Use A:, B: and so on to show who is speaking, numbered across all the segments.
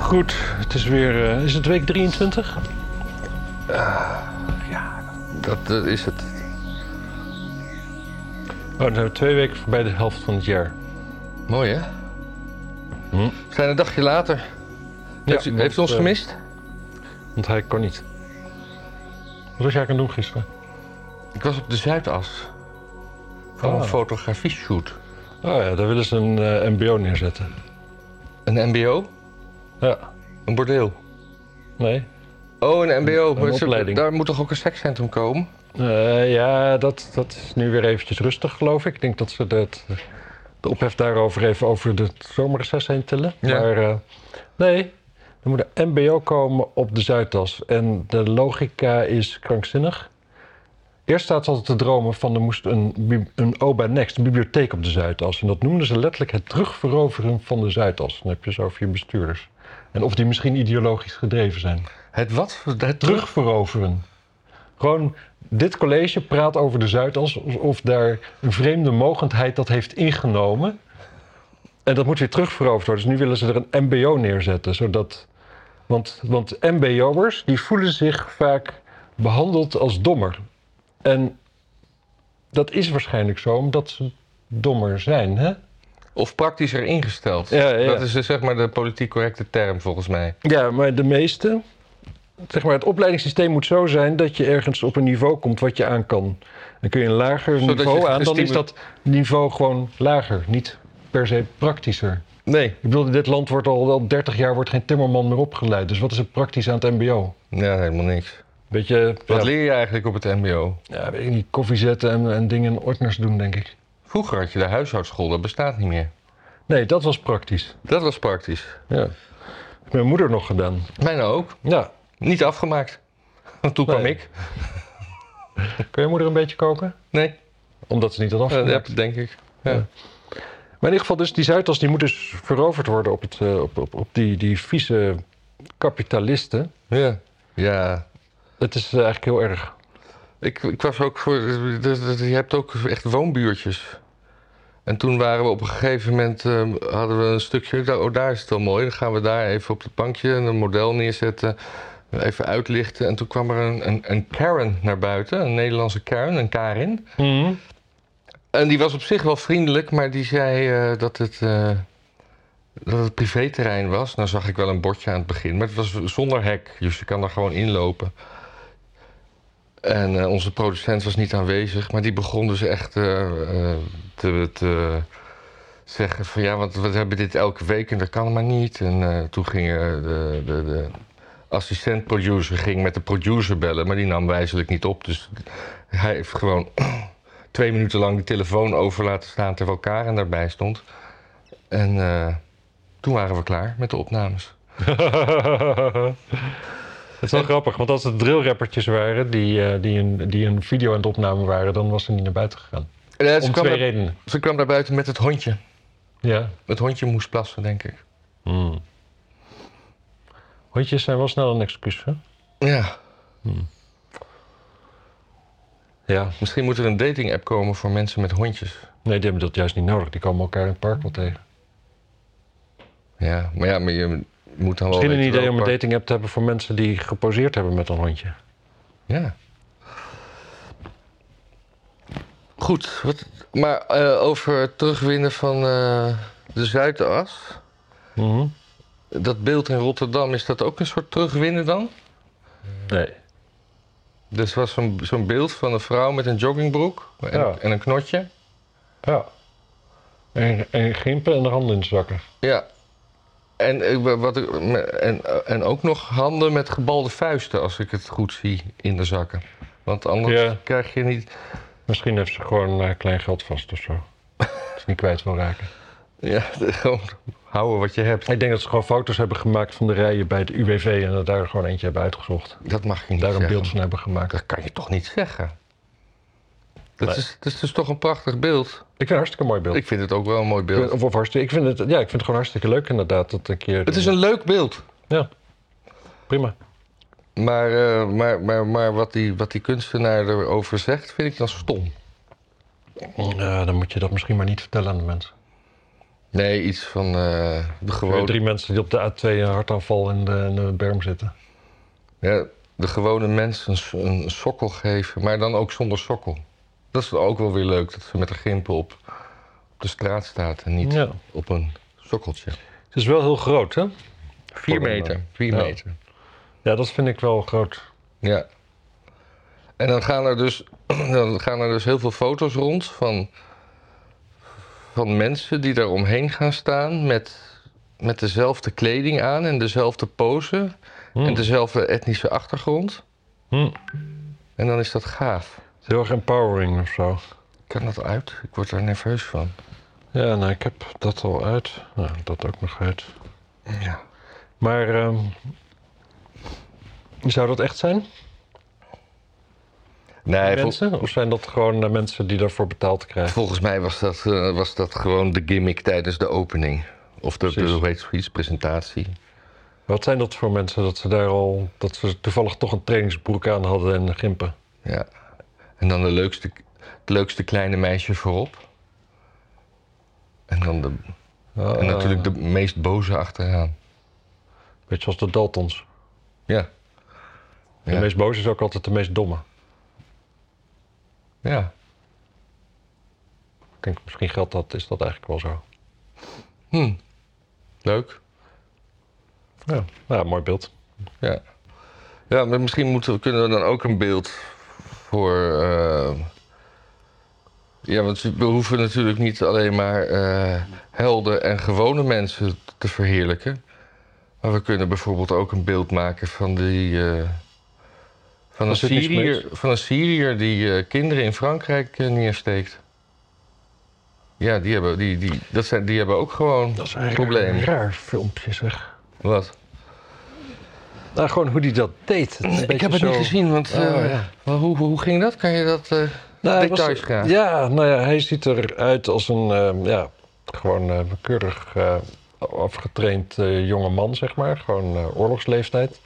A: goed, het is weer. eh, is het week 23?
B: Dat, dat is het.
A: Oh, dan zijn we twee weken voorbij de helft van het jaar.
B: Mooi, hè? We zijn een dagje later. heeft u,
A: want,
B: heeft u ons
A: Hm. eh,
B: gemist?
A: Want hij kon niet. Wat was jij aan het doen gisteren?
B: Ik was op de Zuidas. Voor
A: Ah.
B: een fotografie-shoot.
A: Oh ja, daar willen ze een eh, MBO neerzetten.
B: Een mbo?
A: Ja,
B: Een bordeel.
A: nee.
B: Oh, een mbo.
A: Een
B: Maar ze-
A: opleiding.
B: daar moet toch ook een sekscentrum komen?
A: Eh, ja, dat, dat is nu weer eventjes rustig, geloof ik. Ik denk dat ze dat, de ophef daarover even over de zomerreces heen tillen.
B: Ja.
A: Maar eh, nee, er moet een MBO komen op de Zuidas. En de logica is krankzinnig. Eerst staat ze altijd te dromen van er moest een, bib- een OBA Next, een bibliotheek op de Zuidas. En dat noemden ze letterlijk het terugveroveren van de Zuidas. Dan heb je zo je bestuurders. En of die misschien ideologisch gedreven zijn
B: Het wat? Het terug?
A: terugveroveren. Gewoon, dit college praat over de Zuidas alsof daar een vreemde mogendheid dat heeft ingenomen. En dat moet weer terugveroverd worden. Dus nu willen ze er een MBO neerzetten, zodat... Want, want MBO'ers, die voelen zich vaak behandeld als dommer. En dat is waarschijnlijk zo, omdat ze dommer zijn, hè?
B: Of praktischer ingesteld.
A: Ja, ja, ja.
B: Dat is dus zeg maar de politiek correcte term volgens mij.
A: Ja, maar de meeste. Zeg maar, het opleidingssysteem moet zo zijn dat je ergens op een niveau komt wat je aan kan. Dan kun je een lager
B: Zodat
A: niveau
B: je
A: aan, dan is
B: gestimu-
A: dat niveau gewoon lager, niet per se praktischer.
B: Nee.
A: Ik bedoel, in dit land wordt al wel 30 jaar wordt geen timmerman meer opgeleid. Dus wat is er praktisch aan het mbo?
B: Ja, helemaal niks.
A: Beetje,
B: Wat
A: ja,
B: leer je eigenlijk op het mbo?
A: ja, weet ik niet, koffie zetten en, en dingen in ordners doen, denk ik.
B: Vroeger had je de huishoudschool, dat bestaat niet meer.
A: Nee, dat was praktisch.
B: Dat was praktisch.
A: Ja. Heeft mijn moeder nog gedaan.
B: Mijne ook.
A: Ja.
B: Niet afgemaakt. Want toen kwam
A: Nee.
B: ik.
A: Kun je moeder een beetje koken?
B: Nee,
A: Omdat ze niet had
B: dat
A: afgemaakt.
B: denk ik. Ja.
A: Maar in ieder geval, dus die Zuidas die moet dus veroverd worden op, het, eh, op, op, op die, die vieze kapitalisten.
B: Ja. ja.
A: Het is eh, eigenlijk heel erg.
B: Ik, ik was ook voor. dus- dus Je hebt ook echt woonbuurtjes. En toen waren we op een gegeven moment. ehm, hadden we een stukje. daar- Oh, daar is het wel mooi. Dan gaan we daar even op het bankje een model neerzetten. Even uitlichten. En toen kwam er een, een, een Karen naar buiten. Een Nederlandse Karen, een Karin.
A: Mhm.
B: En die was op zich wel vriendelijk, maar die zei eh, dat het. eh, dat het privéterrein was. Nou zag ik wel een bordje aan het begin, maar het was zonder hek. Dus je kan daar gewoon inlopen. En eh, onze producent was niet aanwezig, maar die begon dus echt eh, eh, te, te zeggen van ja, want we hebben dit elke week en dat kan maar niet. En eh, toen ging eh, de, de, de assistent producer ging met de producer bellen, maar die nam wijzelijk niet op. Dus hij heeft gewoon twee minuten lang die telefoon over laten staan terwijl Karen daarbij stond. En eh, toen waren we klaar met de opnames.
A: Dat is wel grappig, want als het drillrappertjes waren die, eh, die, een, die een video aan het opnemen waren, dan was ze niet naar buiten gegaan.
B: En, eh, ze,
A: Om
B: kwam
A: twee
B: daar,
A: redenen.
B: ze kwam daar buiten met het hondje.
A: Ja.
B: Het hondje moest plassen, denk ik.
A: Hondjes zijn wel snel een excuus, hè?
B: Ja,
A: Ja.
B: misschien moet er een dating-app komen voor mensen met hondjes.
A: Nee, die hebben dat juist niet nodig. Die komen elkaar in het park wel tegen.
B: Ja, maar ja, maar je moet dan wel.
A: Misschien een
B: weten
A: idee om een
B: welke-
A: dating app te hebben voor mensen die geposeerd hebben met een hondje.
B: Ja. Goed, wat, maar eh, over het terugwinnen van eh, de Zuidas.
A: Mhm.
B: Dat beeld in Rotterdam, is dat ook een soort terugwinnen dan?
A: Nee.
B: Dus was zo'n zo'n beeld van een vrouw met een joggingbroek en,
A: Ja.
B: en een knotje.
A: Ja. En, en gimpen en de handen in de zakken.
B: Ja. En, ik wa- wat, ik- me- en, eh, en ook nog handen met gebalde vuisten, als ik het goed zie, in de zakken. Want anders
A: Ja.
B: krijg je niet...
A: Misschien heeft ze gewoon eh, klein geld vast of zo. Dat ze niet kwijt wil raken.
B: Ja, gewoon houden wat je hebt.
A: Ik denk dat ze gewoon foto's hebben gemaakt van de rijen bij het UWV en dat daar gewoon eentje hebben uitgezocht.
B: Dat mag je niet
A: Daar een
B: zeggen.
A: beeld van hebben gemaakt.
B: Dat kan je toch niet zeggen? Dat,
A: Nee.
B: is, dat is dus toch een prachtig beeld.
A: Ik vind het een hartstikke mooi beeld.
B: Ik vind het ook wel een mooi
A: Ik vind-
B: beeld.
A: of, of hartstikke, ik, vind het, ja, ik vind het gewoon hartstikke leuk inderdaad. Dat een keer,
B: Het is een leuk beeld.
A: Ja, prima.
B: Maar, eh, maar, maar, maar wat, die, wat die kunstenaar erover zegt, vind ik dan stom.
A: Ja, dan moet je dat misschien maar niet vertellen aan de mensen.
B: Nee, iets van eh, de
A: Gewoon
B: gewone...
A: drie mensen die op de A2 een hartaanval in de, in de berm zitten.
B: Ja, de gewone mensen een, s- een sokkel geven, maar dan ook zonder sokkel. Dat is ook wel weer leuk, dat ze met een gimpel op, op de straat staat en niet
A: Ja.
B: op een sokkeltje.
A: Het is wel heel groot, hè?
B: Vier
A: Voor een,
B: meter, vier
A: ja.
B: meter.
A: Ja, dat vind ik wel groot.
B: Ja. En dan gaan er dus, dan gaan er dus heel veel foto's rond van, van mensen die daar omheen gaan staan met, met dezelfde kleding aan en dezelfde pose
A: Hm.
B: en dezelfde etnische achtergrond.
A: Hm.
B: En dan is dat gaaf.
A: Het is heel erg empowering of zo.
B: Kan dat uit? Ik word daar nerveus van.
A: Ja, nou, ik heb dat al uit. Nou, dat ook nog uit.
B: Ja.
A: Maar ehm, zou dat echt zijn?
B: Nee, vol-
A: mensen? Of zijn dat gewoon eh, mensen die daarvoor betaald krijgen?
B: volgens mij was dat, eh, was dat gewoon de gimmick tijdens de opening. Of de, de
A: Precies.
B: hoe heet zoiets, presentatie.
A: Wat zijn dat voor mensen dat ze daar al, dat ze toevallig toch een trainingsbroek aan hadden en gimpen?
B: Ja. En dan de leukste, het leukste kleine meisje voorop. En dan de, en
A: Eh,
B: natuurlijk de meest boze achteraan.
A: Beetje zoals de Daltons.
B: Ja.
A: De
B: Ja.
A: meest boze is ook altijd de meest domme.
B: Ja.
A: Ik denk, misschien geldt dat, is dat eigenlijk wel zo.
B: Hm. Leuk.
A: Ja, nou, mooi beeld.
B: Ja. Ja, maar misschien moeten, we- kunnen we dan ook een beeld voor. eh, ja, want we hoeven natuurlijk niet alleen maar eh, helden en gewone mensen te verheerlijken. Maar we kunnen bijvoorbeeld ook een beeld maken van die. eh, van, een
A: Sidney
B: Syriër, van een Syriër die eh, kinderen in Frankrijk eh, neersteekt. Ja, die hebben, die, die, dat zijn, die hebben ook gewoon
A: Dat is eigenlijk
B: problemen.
A: een raar filmpje, zeg.
B: Wat?
A: Nou, gewoon hoe die dat deed. Het is een
B: Ik
A: beetje
B: heb het niet
A: zo-
B: gezien, want
A: Oh,
B: eh,
A: ja.
B: maar hoe, hoe ging dat? Kan je dat... eh,
A: Nou, hij was-
B: Details graag.
A: Ja, nou ja, hij ziet eruit als een eh, ja, gewoon eh, keurig eh, afgetraind eh, jonge man, zeg maar. Gewoon eh, oorlogsleeftijd,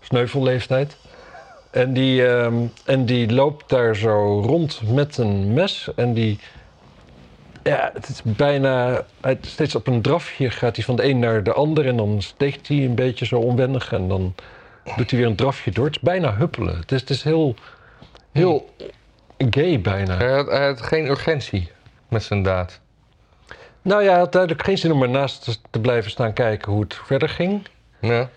A: sneuvelleeftijd. En die, ehm, en die loopt daar zo rond met een mes en die... Ja, het is bijna... hij- Steeds op een drafje gaat hij van de een naar de ander en dan steekt hij een beetje zo onwennig en dan doet hij weer een drafje door. Het is bijna huppelen. Het is, het is heel, heel gay bijna.
B: Hij had, hij had geen urgentie met zijn daad.
A: Nou ja, hij had duidelijk geen zin om ernaast te- te blijven staan kijken hoe het verder ging.
B: Ja.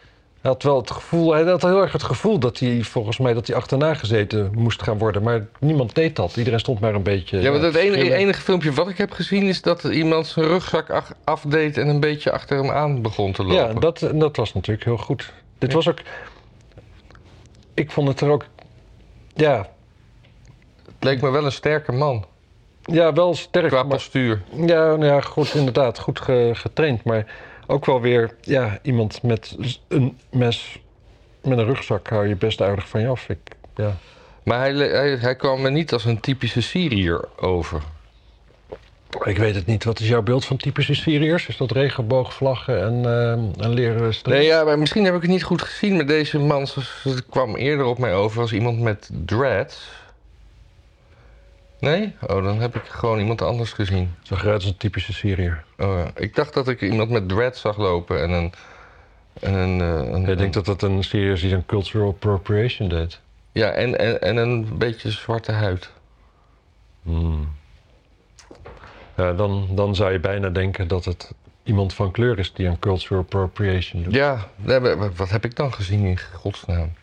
A: Hij had wel het gevoel, hij had heel erg het gevoel dat hij volgens mij dat hij achterna gezeten moest gaan worden. Maar niemand deed dat. Iedereen stond maar een beetje.
B: ja, want
A: eh,
B: het enige,
A: gillen.
B: enige filmpje wat ik heb gezien is dat iemand zijn rugzak ach- afdeed en een beetje achter hem aan begon te lopen.
A: Ja, en dat, en dat was natuurlijk heel goed. Dit was ook. Ik vond het er ook. Ja,
B: Het leek me wel een sterke man
A: ja wel sterk.
B: qua
A: maar-
B: postuur.
A: Ja, nou ja, goed, inderdaad, goed ge- getraind. Maar ook wel weer, ja, iemand met z- een mes, met een rugzak hou je best aardig van je af. Ik, ja.
B: Maar hij, le- hij, hij kwam me niet als een typische Syriër over.
A: Ik weet het niet. Wat is jouw beeld van typische Syriërs? Is dat regenboogvlaggen en, ehm, en leren strepen?
B: Nee, ja, maar misschien heb ik het niet goed gezien, maar deze man z- z- kwam eerder op mij over als iemand met dreads. Nee? Oh, dan heb ik gewoon iemand anders gezien.
A: Zag eruit als een typische Syriër.
B: Oh ja. Ik dacht dat ik iemand met dread zag lopen en een. En een, eh, een-
A: Ik denk dat dat een Syriër is die een cultural appropriation deed.
B: Ja, en, en, en een beetje zwarte huid.
A: Hmm. Ja, dan, dan zou je bijna denken dat het iemand van kleur is die een cultural appropriation doet.
B: Ja, nee, maar wat- wat heb ik dan gezien in godsnaam?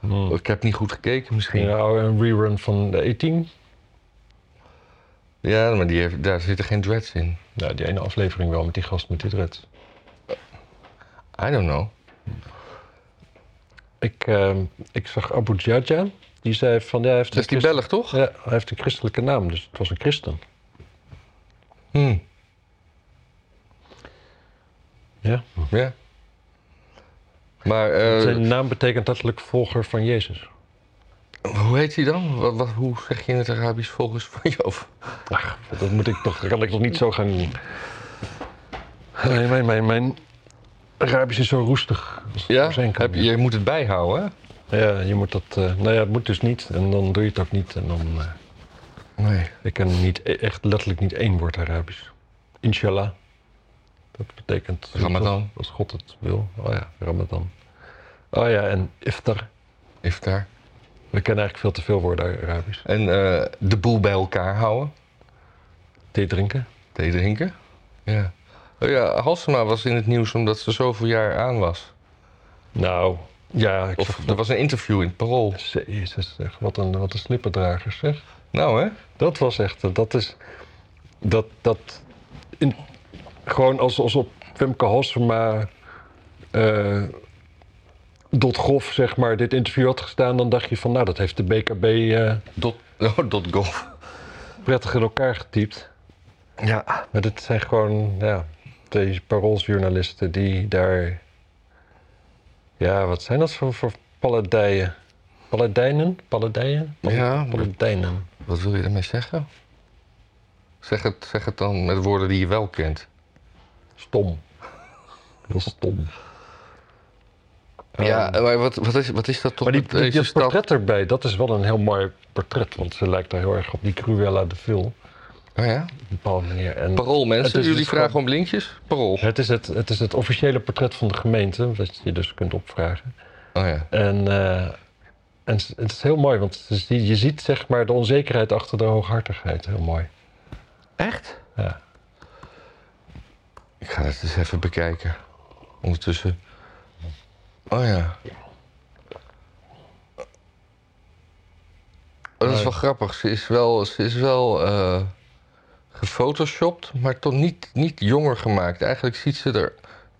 A: Hmm.
B: Ik heb niet goed gekeken misschien. Ja,
A: Ja, oh, een rerun van de E 18.
B: maar die heeft, daar zitten geen dreads in.
A: Nou, die ene aflevering wel met die gast met die dreads.
B: I don't know.
A: Ik, eh, ik zag Abu Jaja. Die zei van ja, hij heeft,
B: Dat is die
A: christel-
B: Belg, toch?
A: ja, hij heeft een christelijke naam, dus het was een christen.
B: Hm,
A: Hmm. Ja.
B: ja. Maar eh,
A: Zijn naam betekent letterlijk volger van Jezus.
B: hoe heet hij dan? Wat, wat, hoe zeg je in het Arabisch volgens van Joof?
A: Ach, dat moet ik toch, kan ik toch niet zo gaan doen. Nee, mijn, mijn, mijn Arabisch is zo roestig. als het
B: Ja,
A: maar zijn kan.
B: heb, je moet het bijhouden, hè?
A: ja, je moet dat, eh, nou ja, het moet dus niet. En dan doe je het ook niet. En dan, eh,
B: Nee.
A: ik ken niet, e- echt letterlijk niet één woord Arabisch. Inshallah. Dat betekent...
B: Ramadan.
A: Als God het wil. Oh ja, Ramadan. Oh ja, en iftar.
B: Iftar.
A: We kennen eigenlijk veel te veel woorden Arabisch.
B: En eh, de boel bij elkaar houden.
A: Thee drinken.
B: Thee drinken. Ja. Oh ja, Halsema was in het nieuws omdat ze zoveel jaar aan was.
A: Nou, ja. Ik
B: Of er was een interview in het Parool.
A: zag- Jezus, zeg, wat een, wat een slippendrager zeg.
B: Nou hè?
A: Dat was echt, eh, dat is, dat, dat, in, gewoon als, als op Femke Halsema eh dot grof, zeg maar, dit interview had gestaan, dan dacht je van, nou, dat heeft de BKB eh,
B: Dot, oh, dot golf.
A: prettig in elkaar getypt.
B: Ja.
A: Maar dit zijn gewoon, ja, deze parooljournalisten die daar, ja, wat zijn dat voor, voor paladijen? Paladijnen? Paladijnen? Pal-
B: Ja,
A: Paladijnen.
B: Wat wil je ermee zeggen? Zeg het, zeg het dan met woorden die je wel kent.
A: Stom. Heel stom.
B: ja, maar wat, wat, is, wat is dat toch
A: Maar die,
B: met
A: die,
B: deze
A: dat
B: stad?
A: portret erbij, dat is wel een heel mooi portret. Want ze lijkt daar heel erg op die Cruella de Vil.
B: Oh ja?
A: Op een bepaalde manier. En
B: Parool
A: Het
B: mensen,
A: is
B: jullie
A: dus
B: vragen om linkjes? Parool.
A: het, is het, het is het officiële portret van de gemeente, dat je dus kunt opvragen.
B: Oh ja.
A: En, eh, en s- het is heel mooi, want het is die- je ziet zeg maar de onzekerheid achter de hooghartigheid. Heel mooi.
B: Echt?
A: Ja.
B: Ik ga het eens even bekijken. Ondertussen. Oh ja. Oh, dat is
A: Nee.
B: wel grappig. Ze is wel, ze is wel eh, gefotoshopt, maar toch niet, niet jonger gemaakt. Eigenlijk ziet ze er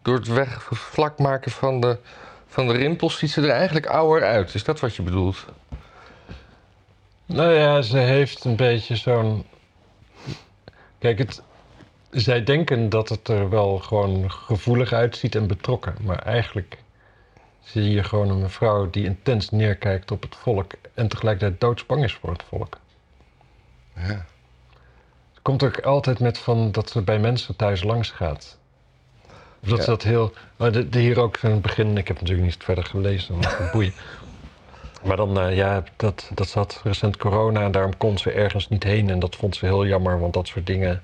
B: door het wegvlak maken van de, van de rimpels, ziet ze er eigenlijk ouder uit. Is dat wat je bedoelt?
A: Nou ja, ze heeft een beetje zo'n. Kijk, het... zij denken dat het er wel gewoon gevoelig uitziet en betrokken. Maar eigenlijk zie je gewoon een mevrouw die intens neerkijkt op het volk. en tegelijkertijd doodsbang is voor het volk.
B: Ja.
A: Ze komt ook altijd met van dat ze bij mensen thuis langs gaat. Of dat
B: Ja.
A: ze dat heel. maar de, de hier ook in het begin, ik heb natuurlijk niet verder gelezen, maar boeien. Maar dan, eh, ja, dat, dat zat recent corona en daarom kon ze ergens niet heen. En dat vond ze heel jammer, want dat soort dingen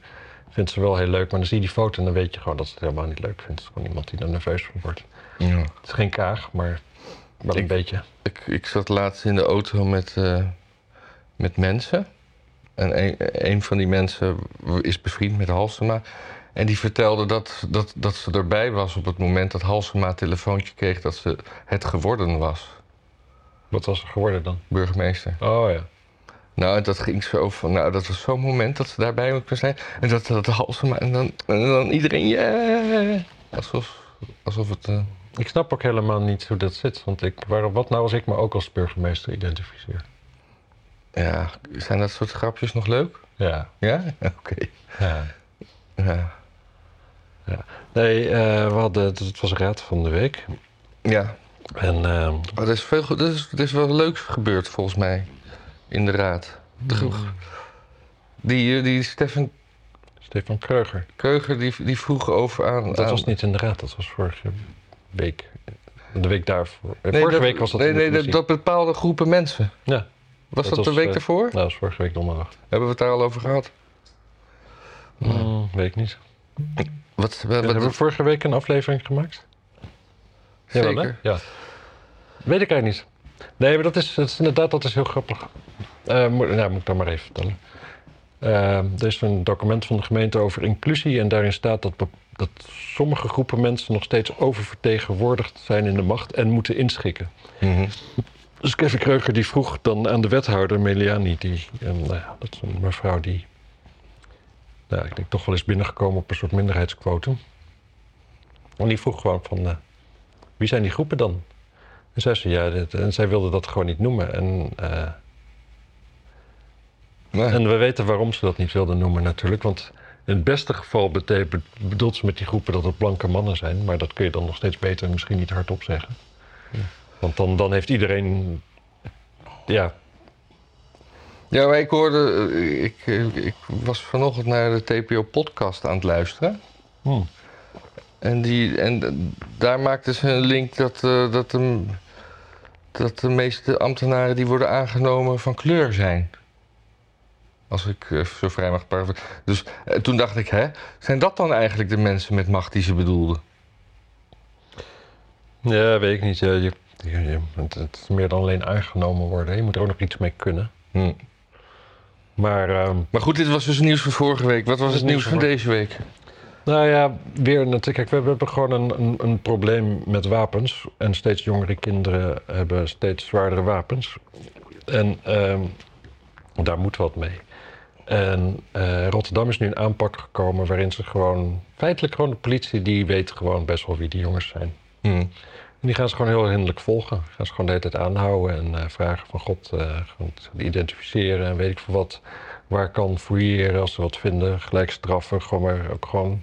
A: vindt ze wel heel leuk. Maar dan zie je die foto en dan weet je gewoon dat ze het helemaal niet leuk vindt. Het is gewoon iemand die er nerveus van wordt.
B: ja.
A: Het is geen kaag, maar wel een
B: Ik-
A: beetje.
B: Ik, ik zat laatst in de auto met, eh, met mensen. En een, een van die mensen is bevriend met Halsema. En die vertelde dat, dat, dat ze erbij was op het moment dat Halsema een telefoontje kreeg dat ze het geworden was,
A: Wat was er geworden dan?
B: burgemeester.
A: Oh ja.
B: Nou, en dat ging zo van, nou, dat was zo'n moment dat ze daarbij moet zijn. En dat, dat Halsema, en dan, en dan iedereen, ja. Alsof, alsof het... eh,
A: Ik snap ook helemaal niet hoe dat zit. Want ik, waar, wat nou als ik me ook als burgemeester identificeer?
B: ja, zijn dat soort grapjes nog leuk?
A: Ja.
B: Ja? Oké.
A: ja.
B: Ja.
A: Nee, eh, we hadden, het- het was Raad van de Week.
B: ja.
A: En eh,
B: Maar er is, veel, go- er, is, er is wel leuks gebeurd volgens mij in de raad. De
A: Hmm.
B: gro- Die, eh, die Stefan
A: Stefan Kreuger.
B: Keuger die, die vroeg over aan...
A: Dat was niet in de Raad, dat was vorige week. De week daarvoor. Eh, vorige week was dat
B: Nee,
A: in de
B: nee dat,
A: commissie.
B: dat bepaalde groepen mensen.
A: Ja,
B: Was
A: Dat
B: dat,
A: was,
B: de week
A: eh,
B: daarvoor?
A: nou, dat was vorige week donderdag.
B: Hebben we het daar al over gehad?
A: Mm, weet ik niet.
B: Wat, wat,
A: hebben we
B: wat
A: vorige week een aflevering gemaakt? Jawel, hè?
B: zeker.
A: ja. Weet ik eigenlijk niet. Nee, maar dat is, dat is inderdaad dat is heel grappig. Eh, moet, nou, moet ik dan maar even vertellen. Eh, er is een document van de gemeente over inclusie en daarin staat dat, be- dat sommige groepen mensen nog steeds oververtegenwoordigd zijn in de macht en moeten inschikken.
B: Mhm.
A: Dus Kevin Kreuger die vroeg dan aan de wethouder Meliani, die, eh, nou ja, dat is een mevrouw die, nou, ik denk toch wel is binnengekomen op een soort minderheidsquotum. En die vroeg gewoon van, eh, wie zijn die groepen dan? En zij zei, ja, dit, en zij wilde dat gewoon niet noemen. En, eh,
B: Nee.
A: en we weten waarom ze dat niet wilde noemen natuurlijk, want in het beste geval betekent, bedoelt ze met die groepen dat het blanke mannen zijn, maar dat kun je dan nog steeds beter misschien niet hardop zeggen. Want dan, dan heeft iedereen, ja,
B: Ja, maar ik hoorde... eh, Ik, eh, ik was vanochtend naar de TPO-podcast aan het luisteren.
A: hmm.
B: En, die, en d- daar maakten ze een link dat, eh, dat, de, dat de meeste ambtenaren die worden aangenomen van kleur zijn. Als ik eh, zo vrij mag praten. Dus eh, toen dacht ik, hè, zijn dat dan eigenlijk de mensen met macht die ze bedoelden?
A: Ja, weet ik niet. Ja, je, je- je- het, het is meer dan alleen aangenomen worden. Je moet er ook nog iets mee kunnen.
B: Hm.
A: Maar ehm,
B: Maar goed, dit was dus nieuws van vorige week. Wat was
A: Dit
B: het
A: is
B: nieuws van
A: nieuws van
B: deze week?
A: Nou ja, weer natuurlijk. Kijk, we hebben- we hebben gewoon een, een, een probleem met wapens. En steeds jongere kinderen hebben steeds zwaardere wapens. En ehm, daar moet wat mee. En eh, Rotterdam is nu een aanpak gekomen waarin ze gewoon... Feitelijk gewoon de politie, die weet gewoon best wel wie die jongens zijn.
B: Hm.
A: En die gaan ze gewoon heel hinderlijk volgen. Gaan ze gewoon de hele tijd aanhouden en eh, vragen van god, eh, gewoon te identificeren en weet ik veel wat. Waar kan fouilleren als ze wat vinden, gelijk straffen, gewoon maar ook gewoon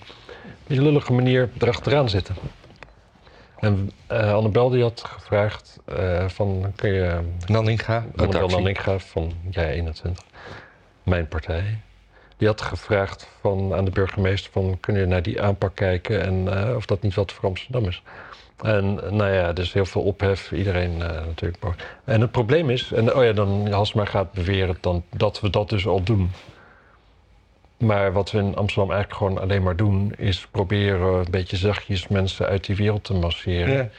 A: op een lullige manier erachteraan zitten. En eh Annabel die had gevraagd eh, van, kun je
B: Nanninga,
A: Annabel
B: redactie.
A: Nanninga van Jij 21, mijn partij, die had gevraagd van, aan de burgemeester van kun je naar die aanpak kijken en eh, of dat niet wat voor Amsterdam is. En eh, nou ja, dus heel veel ophef, iedereen eh, natuurlijk boos. En het probleem is, en oh ja, dan Hasma gaat beweren dan, dat we dat dus al doen. Maar wat we in Amsterdam eigenlijk gewoon alleen maar doen, is proberen een beetje zachtjes mensen uit die wereld te masseren.
B: Ja.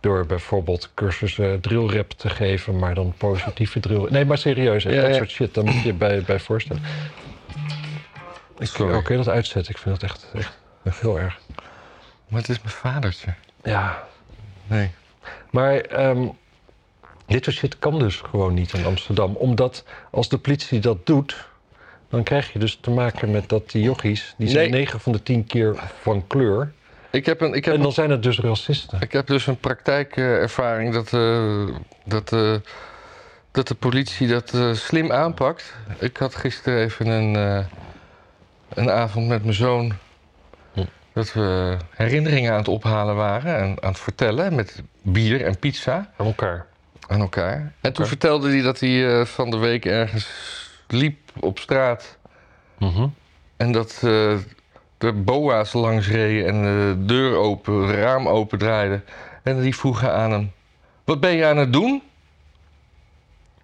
A: Door bijvoorbeeld cursussen drillrap te geven, maar dan positieve drill. Nee, maar serieus, hè,
B: Ja,
A: dat
B: ja.
A: soort shit, daar moet je bij, bij voorstellen. Ik,
B: Sorry.
A: oh, kun je dat uitzetten? Ik vind dat echt, echt, echt heel erg.
B: Maar het is mijn vadertje.
A: Ja,
B: Nee.
A: maar ehm, dit soort shit kan dus gewoon niet in Amsterdam. Omdat als de politie dat doet, dan krijg je dus te maken met dat die jochies... die zijn
B: Nee.
A: 9 van de 10 keer van kleur.
B: Ik heb, een, ik, heb
A: En
B: een-
A: dan zijn het dus racisten.
B: ik heb dus een praktijkervaring dat, eh, dat, eh, dat de politie dat eh, slim aanpakt. Ik had gisteren even een, eh, een avond met mijn zoon.
A: Hm.
B: Dat we herinneringen aan het ophalen waren en aan het vertellen met bier en pizza.
A: Aan elkaar.
B: aan elkaar. En toen
A: Oké.
B: vertelde hij dat hij eh, van de week ergens liep op straat.
A: Mhm.
B: En dat eh de boa's langs reden en de deur open, het raam open draaiden. En die vroegen aan hem: Wat ben je aan het doen?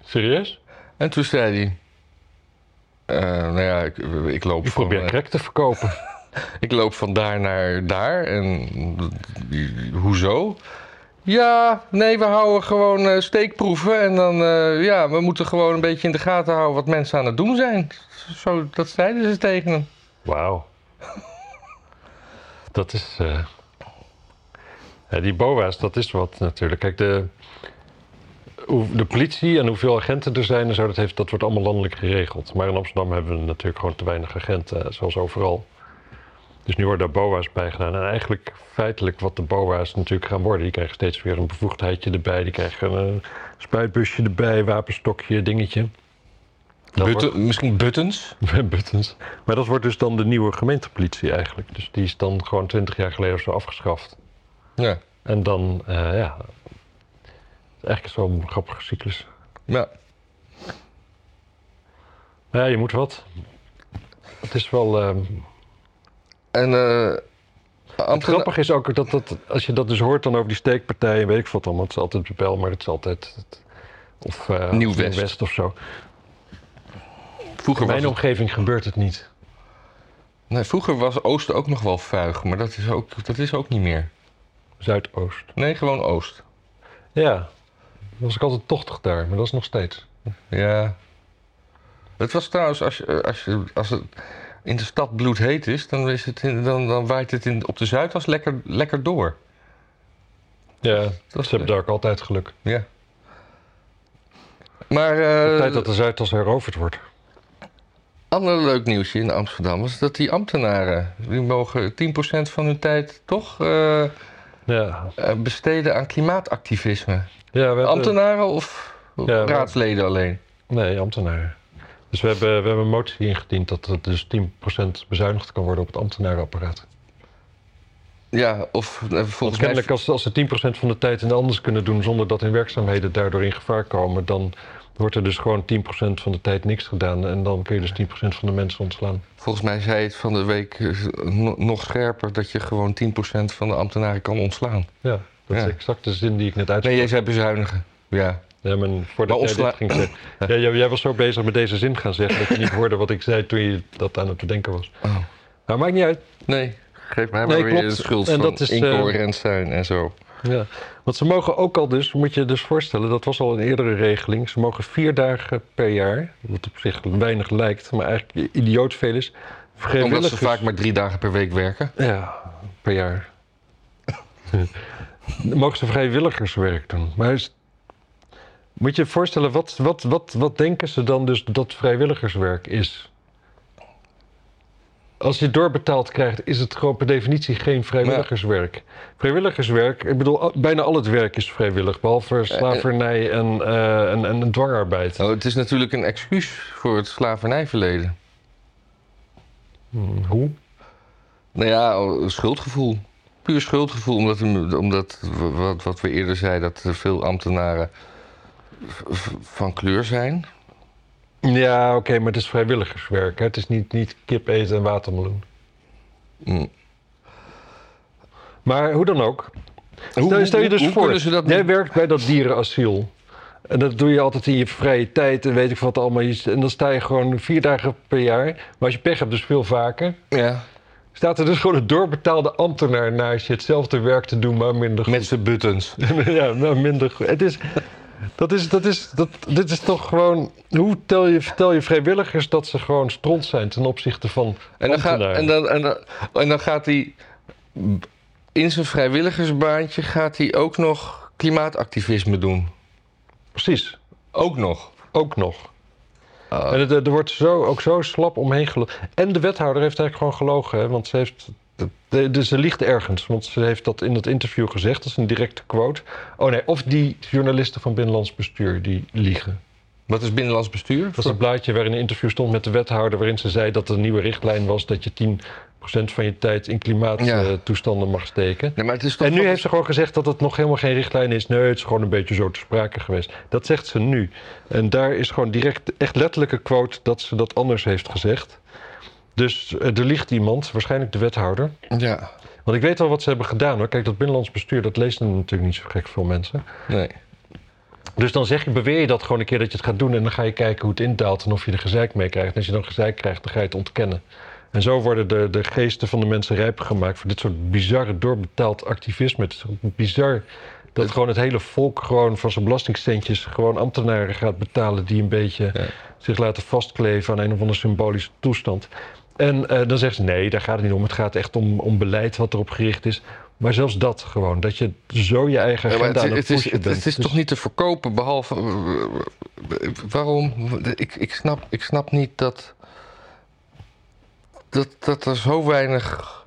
A: Serieus?
B: En toen zei hij: "Eh, Nou ja, ik, ik loop
A: Ik
B: van,
A: probeer
B: eh,
A: crack te verkopen.
B: Ik loop van daar naar daar en eh, hoezo? Ja, nee, we houden gewoon eh, steekproeven en dan, eh, ja, we moeten gewoon een beetje in de gaten houden wat mensen aan het doen zijn. Zo, dat zeiden ze tegen hem.
A: Wauw. Dat is. eh, ja, die BOA's, dat is wat natuurlijk. Kijk, de, hoe- de politie en hoeveel agenten er zijn en zo, dat, heeft, dat wordt allemaal landelijk geregeld. Maar in Amsterdam hebben we natuurlijk gewoon te weinig agenten, eh, zoals overal. Dus nu worden daar BOA's bij gedaan. En eigenlijk feitelijk wat de BOA's natuurlijk gaan worden. Die krijgen steeds weer een bevoegdheidje erbij. Die krijgen een eh, spuitbusje erbij, wapenstokje, dingetje. Dat wordt-
B: Misschien buttons?
A: met buttons. Maar dat wordt dus dan de nieuwe gemeentepolitie eigenlijk. Dus die is dan gewoon twintig jaar geleden of zo afgeschaft.
B: Ja.
A: En dan, eh, ja. Het is eigenlijk zo'n grappige cyclus.
B: ja.
A: Nou Ja, je moet wat. Het is wel. ehm,
B: En eh
A: het
B: ambtena-
A: grappige is ook dat, dat als je dat dus hoort dan over die steekpartijen, weet ik wat allemaal. Het is altijd Bebel, maar het is altijd. het- of eh,
B: Nieuw-West.
A: Nieuw-West of zo.
B: vroeger,
A: In
B: was
A: mijn
B: het-
A: omgeving gebeurt het niet.
B: nee, vroeger was Oost ook nog wel vuig, maar dat is ook, dat is ook niet meer.
A: Zuidoost.
B: Nee, gewoon Oost.
A: Ja. Dan was ik altijd tochtig daar, maar dat is nog steeds.
B: Ja. Het was trouwens, als, je, als, je, als het in de stad bloedheet is, dan, is het in- dan, dan waait het in, op de Zuidas lekker, lekker door.
A: Ja,
B: Dat
A: ze hebben daar ook altijd geluk.
B: Ja. Maar
A: De
B: eh,
A: tijd dat de Zuidas heroverd wordt.
B: ander leuk nieuwsje in Amsterdam was dat die ambtenaren, die mogen 10% van hun tijd toch eh, eh,
A: Ja,
B: besteden aan klimaatactivisme.
A: ja we hebben...
B: Eh, Ambtenaren of
A: maar-
B: raadsleden alleen?
A: Nee, ambtenaren. Dus we hebben, we hebben een motie ingediend dat er dus 10% bezuinigd kan worden op het ambtenarenapparaat.
B: Ja, of eh,
A: Want
B: volgens mij...
A: kennelijk als, als ze 10% van de tijd in anders kunnen doen zonder dat hun werkzaamheden daardoor in gevaar komen, dan wordt er dus gewoon 10% van de tijd niks gedaan en dan kun je dus 10% van de mensen ontslaan.
B: Volgens mij zei het van de week eh, no- nog scherper dat je gewoon 10% van de ambtenaren kan ontslaan.
A: Ja, dat
B: Ja.
A: is exact de zin die ik net uitsprak.
B: Nee, jij zei bezuinigen. Ja.
A: Ja, maar voordat
B: Maar
A: jij
B: opsla-
A: dit ging zeggen. Ja, jij, jij was zo bezig met deze zin gaan zeggen dat je niet hoorde wat ik zei toen je dat aan het bedenken was.
B: Oh.
A: Maar maakt niet uit.
B: Nee, geef mij
A: Nee,
B: maar weer
A: klopt.
B: de schuld
A: En
B: van
A: dat is, eh,
B: incoherent zijn en zo.
A: Ja. Want ze mogen ook al dus, moet je je dus voorstellen, dat was al een eerdere regeling. Ze mogen vier dagen per jaar, wat op zich weinig lijkt, maar eigenlijk idioot veel is.
B: Omdat ze
A: vrijwilligers-
B: vaak maar drie dagen per week werken.
A: Ja, per jaar. Dan mogen ze vrijwilligerswerk doen. Maar is- moet je je voorstellen, wat, wat, wat, wat denken ze dan dus dat vrijwilligerswerk is? Als je doorbetaald krijgt, is het gewoon per definitie geen vrijwilligerswerk. Vrijwilligerswerk, ik bedoel, al- bijna al het werk is vrijwillig, behalve slavernij en, eh, en, en dwangarbeid.
B: Nou, het is natuurlijk een excuus voor het slavernijverleden.
A: Hm, Hoe?
B: Nou ja, schuldgevoel. Puur schuldgevoel, omdat, omdat w- wat, wat we eerder zeiden, dat er veel ambtenaren v- v- van kleur zijn.
A: Ja, oké, maar het is vrijwilligerswerk. Hè? Het is niet, niet kip eten en watermeloen.
B: Mm.
A: Maar hoe dan ook. Stel,
B: hoe-
A: stel je
B: hoe-
A: dus
B: hoe
A: voor,
B: kunnen ze dat
A: jij
B: niet-
A: werkt bij dat dierenasiel. En dat doe je altijd in je vrije tijd en weet ik wat allemaal. Je- En dan sta je gewoon vier dagen per jaar. Maar als je pech hebt, dus veel vaker.
B: Ja,
A: Staat er dus gewoon een doorbetaalde ambtenaar naast je hetzelfde werk te doen, maar minder goed.
B: met zijn buttons.
A: ja, maar minder goed. Het is, dat is, dat is, dat, dit is toch gewoon... Hoe tel je, vertel je vrijwilligers dat ze gewoon stront zijn ten opzichte van
B: En dan, gaat,
A: ambtenaren?
B: en, dan, en, dan, en dan gaat hij in zijn vrijwilligersbaantje gaat hij ook nog klimaatactivisme doen.
A: Precies,
B: Ook nog.
A: ook nog.
B: Oh.
A: En het, eh, er wordt zo, ook zo slap omheen gelogen. En de wethouder heeft eigenlijk gewoon gelogen. Hè? Want ze heeft. de- de- ze liegt ergens. Want ze heeft dat in het interview gezegd. Dat is een directe quote. Oh nee, of die journalisten van Binnenlands Bestuur die liegen.
B: Wat is binnenlands bestuur?
A: Dat was een blaadje waarin een interview stond met de wethouder. waarin ze zei dat de nieuwe richtlijn was dat je 10% van je tijd in
B: Ja.
A: klimaattoestanden mag steken.
B: Nee, maar het is toch
A: En nu
B: grappig-
A: heeft ze gewoon gezegd dat het nog helemaal geen richtlijn is. Nee, het is gewoon een beetje zo te sprake geweest. Dat zegt ze nu. En daar is gewoon direct, echt letterlijke quote dat ze dat anders heeft gezegd. Dus eh, er ligt iemand, waarschijnlijk de wethouder.
B: Ja,
A: Want ik weet al wat ze hebben gedaan hoor. Kijk, dat binnenlands bestuur, dat lezen natuurlijk niet zo gek veel mensen.
B: nee.
A: Dus dan zeg je, beweer je dat gewoon een keer dat je het gaat doen. En dan ga je kijken hoe het indaalt en of je er gezeik mee krijgt. En als je dan gezeik krijgt, dan ga je het ontkennen. En zo worden de, de geesten van de mensen rijp gemaakt voor dit soort bizarre doorbetaald activisme. Het is toch bizar dat gewoon het hele volk gewoon van zijn belastingcentjes gewoon ambtenaren gaat betalen die een beetje
B: Ja.
A: zich laten vastkleven aan een of andere symbolische toestand. En eh, dan zegt ze nee, daar gaat het niet om. Het gaat echt om, om beleid wat erop gericht is. Maar zelfs dat gewoon, dat je zo je eigen
B: Ja, maar
A: agenda
B: het,
A: aan
B: het
A: pushen
B: is, het,
A: bent.
B: het is
A: Dus-
B: toch niet te verkopen, behalve... eh, Waarom? Ik, ik, snap, ik snap niet dat, dat... Dat er zo weinig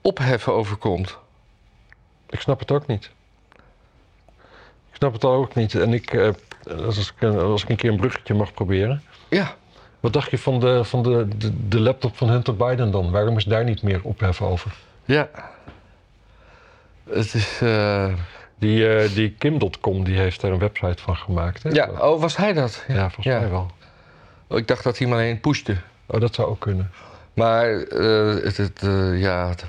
B: opheffen over komt.
A: Ik snap het ook niet. Ik snap het ook niet. En ik, eh, als, ik een, als ik een keer een bruggetje mag proberen.
B: Ja,
A: Wat dacht je van de, van de, de, de laptop van Hunter Biden dan? Waarom is daar niet meer ophef over?
B: ja. Het is... eh,
A: Die, eh, die Kim.com die heeft daar een website van gemaakt. Hè?
B: ja, oh, was hij dat?
A: ja, volgens
B: Ja.
A: mij wel.
B: Oh, Ik dacht dat hij hem alleen pushte.
A: Oh, dat zou ook kunnen.
B: Maar eh, het, het, eh, ja, het-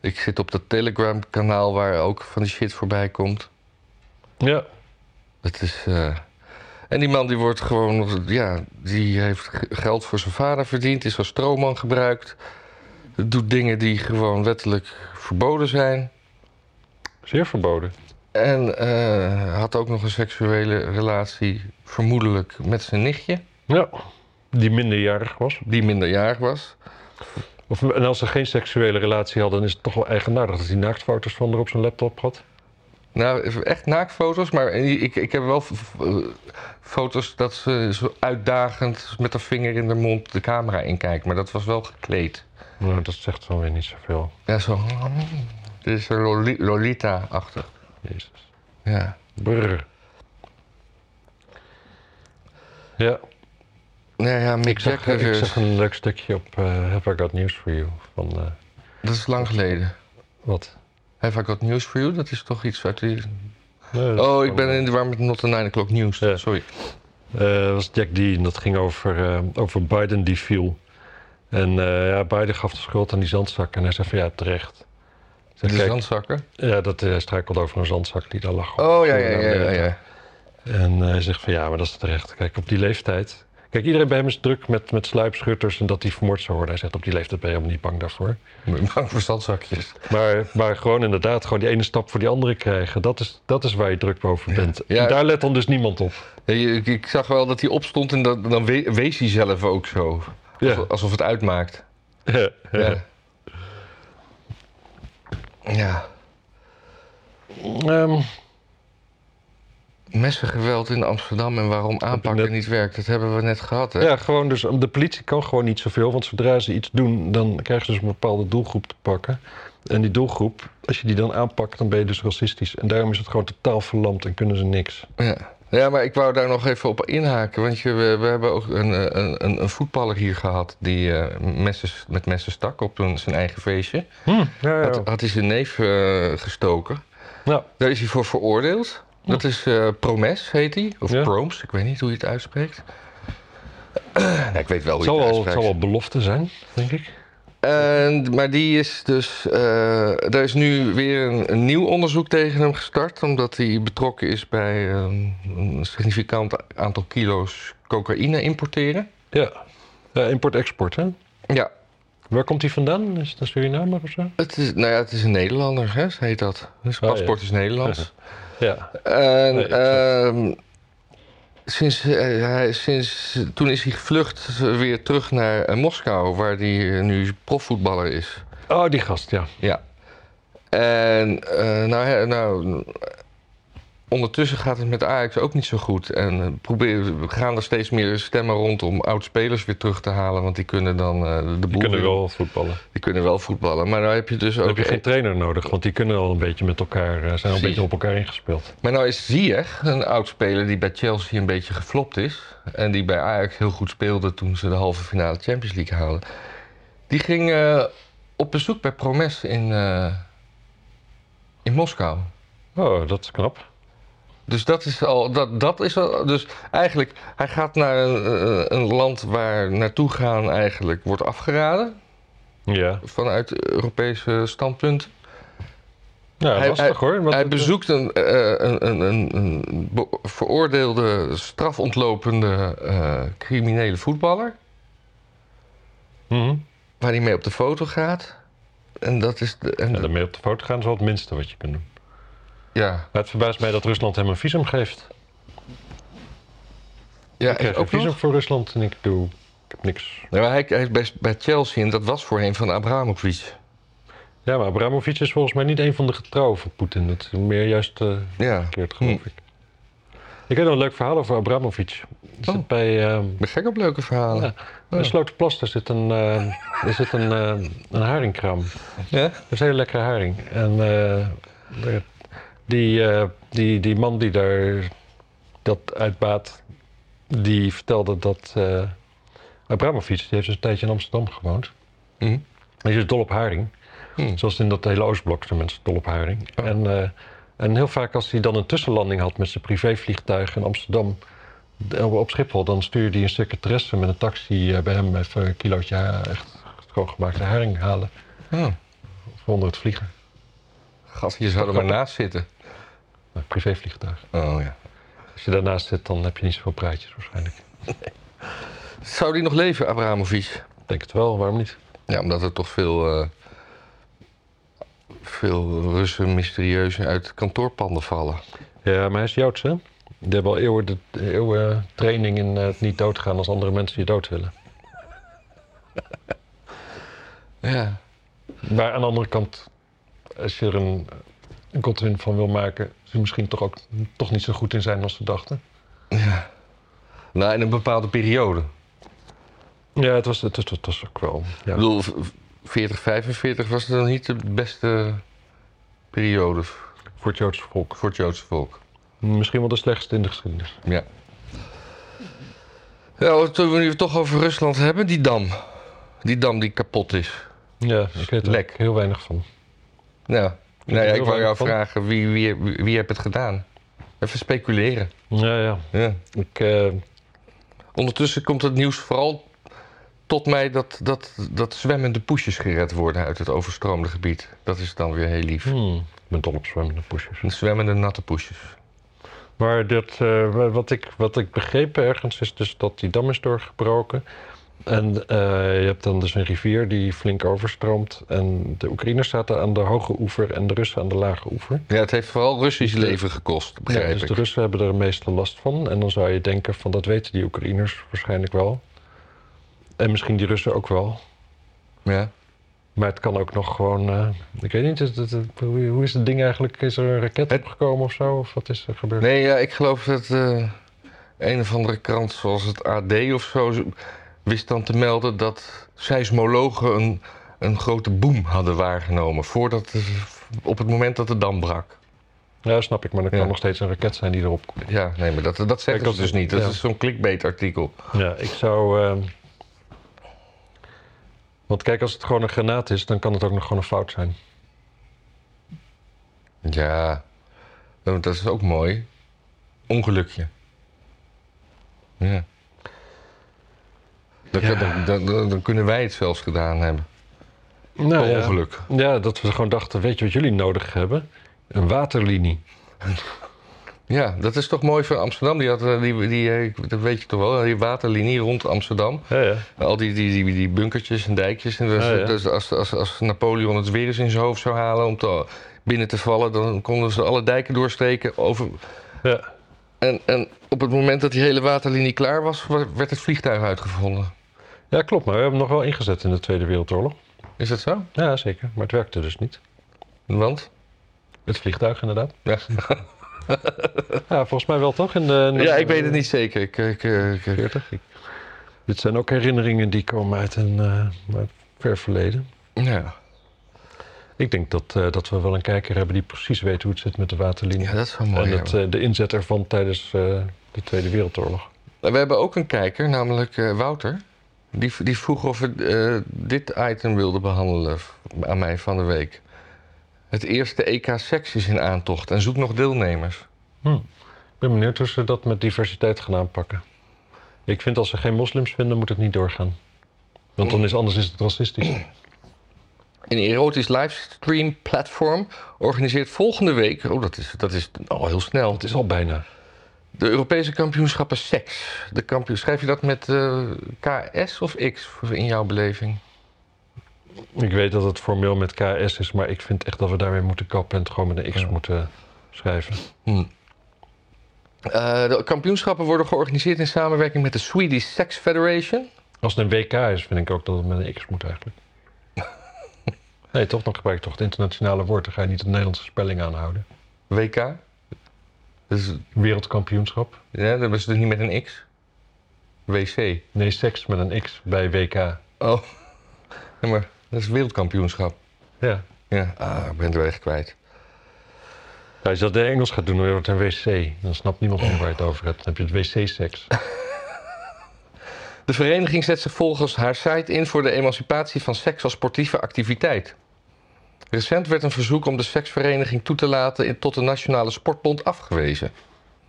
B: ik zit op dat Telegram kanaal waar ook van die shit voorbij komt.
A: Ja.
B: Het is, eh, en die man die wordt gewoon, ja, die heeft g- geld voor zijn vader verdiend, is als stroomman gebruikt, doet dingen die gewoon wettelijk verboden zijn.
A: Zeer verboden.
B: En eh, had ook nog een seksuele relatie, vermoedelijk met zijn nichtje,
A: Ja. Die minderjarig was.
B: die minderjarig was.
A: Of, en als ze geen seksuele relatie hadden, dan is het toch wel eigenaardig dat hij naaktfoto's van haar op zijn laptop had.
B: Nou, echt naaktfoto's, maar ik, ik heb wel f- f- eh, foto's dat ze zo uitdagend met haar vinger in de mond de camera inkijkt. Maar dat was wel gekleed.
A: Nou, dat zegt dan weer niet zoveel.
B: Ja, zo. Dit is een Loli- Lolita-achtig.
A: Jezus.
B: Ja.
A: Brr. Ja,
B: Nou ja, Mick
A: ik zag,
B: Jagger,
A: ik
B: is-
A: zag een leuk stukje op eh Have I Got News For You van eh,
B: dat is lang geleden.
A: wat?
B: Have I got news for you? Dat is toch iets uit die...
A: Nee, dat
B: Oh,
A: is
B: ik
A: wel-
B: ben in de war met Not the 9 o'clock news.
A: Ja.
B: Sorry.
A: Eh, dat was Jack Dean, dat ging over, eh, over Biden die viel. En eh, ja, Biden gaf de schuld aan die zandzak en hij zei van ja, terecht. Ik
B: De
A: Zei, kijk,
B: zandzakken.
A: ja, dat eh, hij struikelde over een zandzak die daar lag.
B: Oh, ja, ja, ja, ja. ja.
A: En eh, hij zegt van ja, maar dat is terecht. Kijk, op die leeftijd. Kijk, iedereen bij hem is druk met, met sluipschutters en dat die vermoord zou worden. Hij zegt op die leeftijd ben je helemaal niet bang daarvoor.
B: Bang voor zandzakjes.
A: Maar, maar gewoon inderdaad, gewoon die ene stap voor die andere krijgen. Dat is, dat is waar je druk over bent.
B: Ja.
A: En daar let dan dus niemand op.
B: Nee, Ik, ik zag wel dat hij opstond en dat, dan we- wees hij zelf ook zo.
A: Ja.
B: Alsof, alsof het uitmaakt.
A: Ja.
B: Ja. ja.
A: Ehm,
B: Messengeweld in Amsterdam en waarom aanpakken
A: net-
B: niet werkt, dat hebben we net gehad. Hè?
A: ja, gewoon dus de politie kan gewoon niet zoveel. Want zodra ze iets doen, dan krijgen ze dus een bepaalde doelgroep te pakken. En die doelgroep, als je die dan aanpakt, dan ben je dus racistisch. En daarom is het gewoon totaal verlamd en kunnen ze niks.
B: Ja. Ja, maar ik wou daar nog even op inhaken. Want je, we, we hebben ook een, eh, een, een, een voetballer hier gehad die eh, messen, met messen stak op een- zijn eigen feestje.
A: ja, ja.
B: Had, had hij zijn neef eh, gestoken.
A: Nou,
B: Daar is hij voor veroordeeld. Dat is eh, Promes, heet hij. Of
A: Ja.
B: Proms, ik weet niet hoe je het uitspreekt. nou, ik weet wel
A: het zal
B: hoe je het
A: wel, het
B: uitspreekt.
A: zal wel belofte zijn, denk ik.
B: En- maar die is dus. eh er is nu weer een, een nieuw onderzoek tegen hem gestart. Omdat hij betrokken is bij ehm, een significant aantal kilo's cocaïne importeren.
A: Ja, ja import-export, hè?
B: Ja,
A: Waar komt die vandaan? Is dat Surinamer of zo?
B: het is, nou ja, het is een Nederlander, hè, heet dat. Dus
A: Oh, ja.
B: paspoort is Nederlands.
A: Ja.
B: En
A: Nee, ik-
B: ehm, sinds, eh, hij, sinds, toen is hij gevlucht weer terug naar eh, Moskou, waar hij eh, nu profvoetballer is.
A: Oh, die gast, ja.
B: Ja. En eh, nou, hè, nou, ondertussen gaat het met Ajax ook niet zo goed. En eh, probeer, we gaan er steeds meer stemmen rond om oud-spelers weer terug te halen. Want die kunnen dan eh, de
A: Die
B: boel
A: kunnen
B: weer-
A: wel voetballen.
B: die kunnen wel voetballen. Maar nou heb je dus
A: Dan
B: ook...
A: heb je geen trainer nodig, want die kunnen al een beetje met elkaar, eh, zijn al een
B: Precies.
A: beetje op elkaar ingespeeld.
B: Maar nou is Ziyech een oud-speler die bij Chelsea een beetje geflopt is. En die bij Ajax heel goed speelde toen ze de halve finale Champions League haalden. Die ging eh, op bezoek bij Promes in, eh, in Moskou.
A: Oh, dat is knap.
B: Dus dat is al, dat, dat is al, dus eigenlijk, hij gaat naar een, eh, een land waar naartoe gaan eigenlijk wordt afgeraden
A: Ja,
B: vanuit Europese standpunt.
A: ja
B: Hij-
A: lastig hoor. want
B: hij
A: het, eh,
B: bezoekt een, eh, een, een, een, een be- veroordeelde, strafontlopende eh, criminele voetballer,
A: mhm.
B: waar hij mee op de foto gaat. En dat is, de, en
A: Ja,
B: de-
A: daarmee op de foto gaan is wel het minste wat je kunt doen.
B: ja,
A: Maar het verbaast mij dat Rusland hem een visum geeft.
B: ja,
A: Ik krijg
B: ook
A: een visum
B: nog.
A: voor Rusland en ik doe ik heb niks.
B: Nee, maar hij, hij is bij, bij Chelsea en dat was voorheen van Abramovic.
A: Ja, maar Abramovic is volgens mij niet een van de getrouwen van Poetin. Dat is meer juist eh,
B: Ja,
A: verkeerd, geloof
B: Hm.
A: ik. Ik heb nog een leuk verhaal over Abramovic. Er zit
B: Oh.
A: bij ehm,
B: ik ben gek op leuke verhalen.
A: Ja. bij Sloterplas daar zit een, eh, er zit een, eh, een haringkraam.
B: Ja?
A: Dat is een hele lekkere haring. En eh, de- die, eh, die, die man die daar dat uitbaat, die vertelde dat eh Abramovic, die heeft dus een tijdje in Amsterdam gewoond.
B: Mhm.
A: Hij is dus dol op haring.
B: Hmm.
A: Zoals in dat hele Oostblok zijn mensen dol op haring.
B: Oh.
A: En, eh, en heel vaak als hij dan een tussenlanding had met zijn privévliegtuig in Amsterdam d- op Schiphol, dan stuurde hij een secretaresse met een taxi eh, bij hem even een kilootje ha- echt schoongemaakte haring halen
B: Oh.
A: voor onder het vliegen.
B: Gast, je zou er maar naast zitten.
A: Een privévliegtuig.
B: Oh ja.
A: Als je daarnaast zit, dan heb je niet zoveel praatjes waarschijnlijk.
B: Zou die nog leven, Abramovic?
A: Ik denk het wel, waarom niet?
B: Ja, omdat er toch veel, eh, veel Russen mysterieus uit kantoorpanden vallen.
A: Ja, maar hij is Joods, hè? Die hebben al eeuwen, de, eeuwen training in eh, het niet doodgaan als andere mensen je dood willen.
B: Ja.
A: Maar aan de andere kant, als je er een, een godwin van wil maken, is hij misschien toch ook toch niet zo goed in zijn als ze dachten.
B: ja. Nou, in een bepaalde periode.
A: Ja, het was, het, was- het was ook wel.
B: Ik
A: Ja.
B: bedoel, v- 40, 45 was dan niet de beste periode v-
A: Voor het Joodse volk.
B: voor het Joodse volk.
A: Misschien wel de slechtste in de geschiedenis.
B: Ja. Ja, toen we nu het toch over Rusland hebben, die dam. Die dam die kapot is.
A: Ja, ik weet er
B: Lek.
A: ook heel weinig van.
B: Nou, nou ja,
A: heel
B: ik wou
A: weinig
B: jou
A: van.
B: vragen, wie, wie, wie, wie heeft het gedaan? Even speculeren.
A: Ja, ja.
B: Ja.
A: Ik, eh,
B: Ondertussen komt het nieuws vooral tot mij dat, dat, dat zwemmende poesjes gered worden uit het overstroomde gebied. Dat is dan weer heel lief.
A: hmm, ik ben dol op zwemmende poesjes.
B: Zwemmende natte poesjes.
A: Maar dat, eh, wat, ik, wat ik begreep ergens is dus dat die dam is doorgebroken. En eh, je hebt dan dus een rivier die flink overstroomt. En de Oekraïners zaten aan de hoge oever en de Russen aan de lage oever.
B: Ja, het heeft vooral Russisch leven gekost,
A: Ja,
B: begrijp
A: dus
B: ik.
A: de Russen hebben er meestal last van. En dan zou je denken van dat weten die Oekraïners waarschijnlijk wel. En misschien die Russen ook wel.
B: Ja.
A: Maar het kan ook nog gewoon, eh, ik weet niet, het- het- het- hoe hoe is het ding eigenlijk? Is er een raket
B: Het-
A: opgekomen of zo? Of wat is er gebeurd?
B: Nee, ja, ik geloof dat eh, een of andere krant zoals het AD of zo z- wist dan te melden dat seismologen een, een grote boom hadden waargenomen voordat de- op het moment dat de dam brak.
A: Ja, snap ik, maar er kan
B: Ja.
A: nog steeds een raket zijn die erop komt.
B: Ja, nee, maar dat, dat
A: Kijk,
B: zeggen ze
A: dat-
B: dus niet. Dat
A: ja.
B: is zo'n clickbait-artikel.
A: Ja, ik zou. ehm, Want kijk, als het gewoon een granaat is, dan kan het ook nog gewoon een fout zijn.
B: Ja, want dat is ook mooi. Ongelukje. Ja. Dan,
A: Ja.
B: dan- dan- dan- dan kunnen wij het zelfs gedaan hebben.
A: Nou,
B: Per
A: ja.
B: ongeluk.
A: ja, dat we gewoon dachten, weet je wat jullie nodig hebben? Een waterlinie.
B: Ja, dat is toch mooi van Amsterdam. Die had, eh, die, die, eh, dat weet je toch wel, die waterlinie rond Amsterdam.
A: Ja, ja.
B: Al die, die, die, die bunkertjes en dijkjes. En dat-
A: Ja, ja.
B: Dus als, als, als Napoleon het weer eens in zijn hoofd zou halen om te, binnen te vallen, dan konden ze alle dijken doorsteken. Over,
A: ja.
B: en, en op het moment dat die hele waterlinie klaar was, wa- werd het vliegtuig uitgevonden.
A: ja klopt, maar we hebben hem nog wel ingezet in de Tweede Wereldoorlog.
B: Is dat zo?
A: Ja, zeker, maar het werkte dus niet.
B: Want?
A: Het vliegtuig, inderdaad.
B: Ja.
A: Ja, volgens mij wel toch? In de, in de-
B: Ja, ik weet het niet zeker. Ik, ik, eh, ik-
A: 40. Ik- Dit zijn ook herinneringen die komen uit een eh, ver verleden.
B: ja.
A: Ik denk dat, eh, dat we wel een kijker hebben die precies weet hoe het zit met de waterlinie.
B: ja, dat is wel mooi.
A: en
B: ja.
A: het, eh, de inzet ervan tijdens eh, de Tweede Wereldoorlog.
B: We hebben ook een kijker, namelijk eh, Wouter. Die, v- die vroeg of we eh, dit item wilden behandelen v- aan mij van de week. Het eerste EK seks is in aantocht en zoek nog deelnemers.
A: Ik ben benieuwd hoe ze dat met diversiteit gaan aanpakken. Ik vind als ze geen moslims vinden, moet het niet doorgaan. Want dan is anders is het racistisch.
B: Een erotisch livestream platform organiseert volgende week... Oh, dat is, dat is al heel snel.
A: Het is al bijna.
B: De Europese kampioenschappen seks. De kampioen, schrijf je dat met eh, KS of X in jouw beleving?
A: Ik weet dat het formeel met KS is, maar ik vind echt dat we daarmee moeten kappen en het gewoon met een X
B: Ja.
A: moeten schrijven.
B: Eh, de kampioenschappen worden georganiseerd in samenwerking met de Swedish Sex Federation...
A: Als het een WK is, vind ik ook dat het met een X moet eigenlijk. Nee, toch? Dan gebruik je toch het internationale woord. Dan ga je niet de Nederlandse spelling aanhouden.
B: WK. Dus,
A: Wereldkampioenschap.
B: ja, dat was dus niet met een X. WC.
A: Nee, seks met een X bij WK.
B: Oh. Ja, maar dat is wereldkampioenschap.
A: Ja.
B: Ja, ah, ik ben de weg kwijt.
A: Als je dat in Engels gaat doen, dan wordt het een wc. Dan snapt niemand meer waar je het over hebt. Dan heb je het wc-seks.
B: De vereniging zet zich volgens haar site in voor de emancipatie van seks als sportieve activiteit. Recent werd een verzoek om de seksvereniging toe te laten in- tot de Nationale Sportbond afgewezen.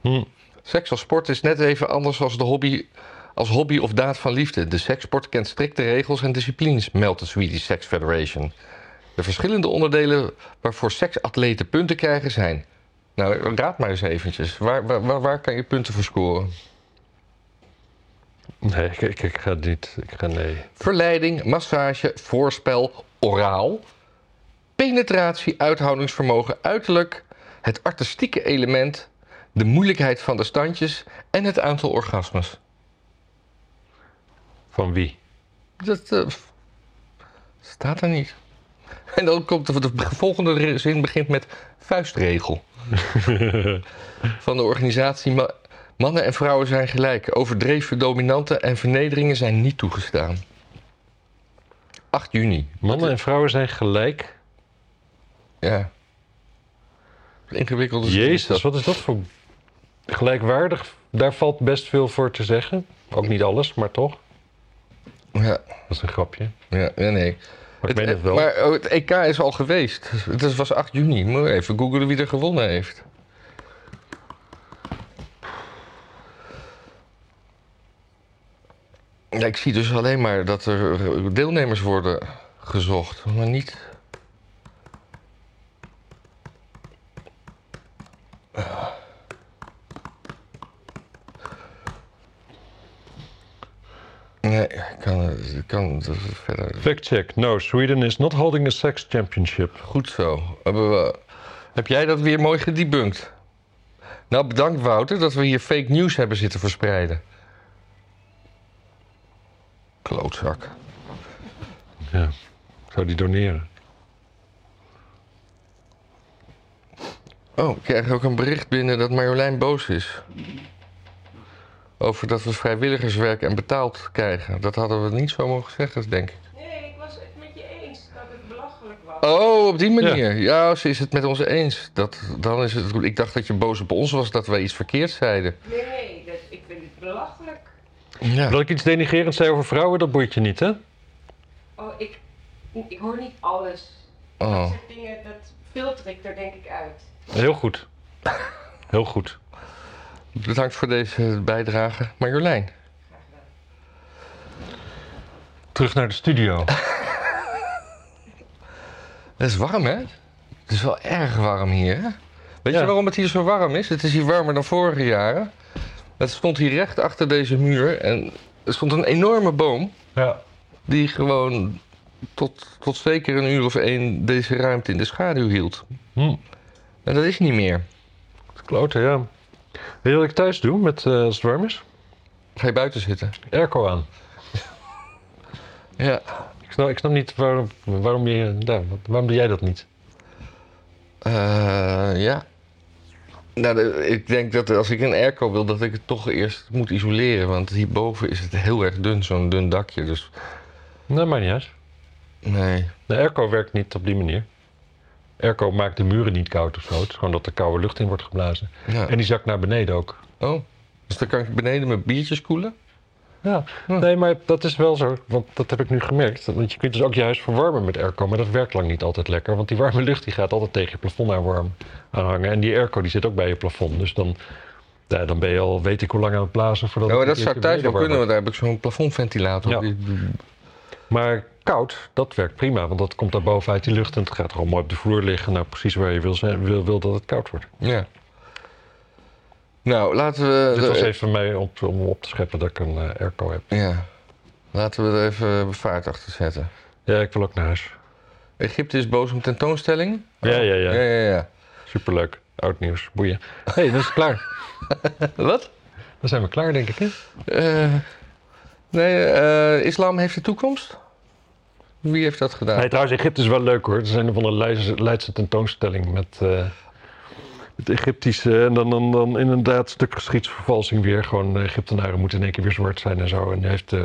A: Hm.
B: Seks als sport is net even anders als, de hobby, als hobby of daad van liefde. De sekssport kent strikte regels en disciplines, meldt de Swedish Sex Federation. De verschillende onderdelen waarvoor seksatleten punten krijgen zijn... Nou, raad maar eens eventjes. Waar, waar, waar, waar kan je punten voor scoren?
A: Nee, ik, ik, ik ga het niet. Ik ga nee.
B: Verleiding, massage, voorspel, oraal. Penetratie, uithoudingsvermogen, uiterlijk. Het artistieke element. De moeilijkheid van de standjes. En het aantal orgasmes.
A: Van wie?
B: Dat eh, f- staat er niet. En dan komt de, de volgende re- zin begint met vuistregel. Van de organisatie Ma- Mannen en vrouwen zijn gelijk. Overdreven dominanten en vernederingen zijn niet toegestaan. 8 juni.
A: Mannen en vrouwen zijn gelijk.
B: Ja. Ingewikkeld is het niet,
A: Jezus,
B: dat.
A: wat is dat voor... Gelijkwaardig, daar valt best veel voor te zeggen. Ook niet alles, maar toch.
B: Ja,
A: Dat is een grapje.
B: ja, ja, nee.
A: Maar ik meen het wel.
B: Maar oh, het EK is al geweest. Het was 8 juni. Moet je even googelen wie er gewonnen heeft. Ja, ik zie dus alleen maar dat er eh, deelnemers worden gezocht, maar niet. Nee, ik kan, het- ik kan het verder.
A: Fact check. No, Sweden is not holding a sex championship.
B: Goed zo. Hebben we- heb jij dat weer mooi gedebunked? Nou, bedankt Wouter dat we hier fake news hebben zitten verspreiden. Klootzak.
A: Ja. Zou die doneren?
B: Oh, ik krijg ook een bericht binnen dat Marjolein boos is. Over dat we vrijwilligerswerk en betaald krijgen. Dat hadden we niet zo mogen zeggen, denk ik.
C: Nee, ik was het met je eens dat het belachelijk was.
B: Oh, op die manier. Ja, ze is het met ons eens. Dat, dan is het, ik dacht dat je boos op ons was dat wij iets verkeerd zeiden.
C: Nee, nee, dat, ik vind het belachelijk.
B: Ja.
A: Dat ik iets denigerends zei over vrouwen, dat boeit je niet, hè?
C: Oh, ik, ik hoor niet alles. Dat
B: Oh.
C: soort dingen, dat filter ik er denk ik uit.
A: Heel goed. Heel goed.
B: Bedankt voor deze bijdrage, Marjolein.
A: Terug naar de studio.
B: Het is warm, hè? Het is wel erg warm hier, hè? Weet
A: Ja.
B: je waarom het hier zo warm is? Het is hier warmer dan vorige jaren. Het stond hier recht achter deze muur en er stond een enorme boom
A: Ja.
B: die gewoon tot, tot zeker een uur of één deze ruimte in de schaduw hield.
A: Hm.
B: En dat is niet meer.
A: Klote, ja. Weet je wat ik thuis doe met, eh, als het warm is?
B: Ga je buiten zitten?
A: Airco aan.
B: Ja.
A: Ik snap, ik snap niet waarom, waarom, je, ja, wat- waarom doe jij dat niet?
B: Eh, ja. Nou, de- ik denk dat als ik een airco wil, dat ik het toch eerst moet isoleren. Want hierboven is het heel erg dun, zo'n dun dakje. Dus
A: Nee, Nou, maakt niet uit.
B: nee.
A: De airco werkt niet op die manier. Airco maakt de muren niet koud of zo. Het is gewoon dat er koude lucht in wordt geblazen.
B: Ja.
A: En die zakt naar beneden ook.
B: Oh, dus dan kan ik beneden mijn biertjes koelen?
A: Ja, nee, maar dat is wel zo, want dat heb ik nu gemerkt. Want je kunt dus ook je huis verwarmen met airco, maar dat werkt lang niet altijd lekker. Want die warme lucht die gaat altijd tegen je plafond aan, warm, aan hangen. En die airco die zit ook bij je plafond. Dus dan, ja, dan ben je al weet ik hoe lang aan het blazen voordat
B: Ja, maar
A: het
B: Oh, dat
A: een
B: zou
A: keertje
B: thuis wel
A: beneden
B: kunnen,
A: warm
B: want daar heb ik zo'n plafondventilator.
A: Ja.
B: Die-
A: wordt. Maar koud, dat werkt prima, want dat komt daar boven uit die lucht. En het gaat gewoon mooi op de vloer liggen, nou precies waar je wil, zijn, wil, wil dat het koud wordt.
B: ja. Nou, laten we...
A: Dit was even mij op, om op te scheppen dat ik een eh, airco heb.
B: Ja. Laten we er even vaart achter zetten.
A: Ja, ik wil ook naar huis.
B: Egypte is boos om tentoonstelling?
A: Ja, ja,
B: Ja,
A: ja.
B: ja, ja.
A: Superleuk. Oud nieuws. Boeien. Hé, hey, dat is het klaar.
B: Wat?
A: Dan zijn we klaar, denk ik, hè?
B: Eh, nee, eh, islam heeft de toekomst? Wie heeft dat gedaan?
A: Nee, trouwens, Egypte is wel leuk hoor. Er zijn van een Leidse, Leidse tentoonstelling met eh, het Egyptische. En dan, dan, dan inderdaad een stuk geschiedsvervalsing weer. Gewoon de Egyptenaren moeten in één keer weer zwart zijn en zo. En nu heeft eh,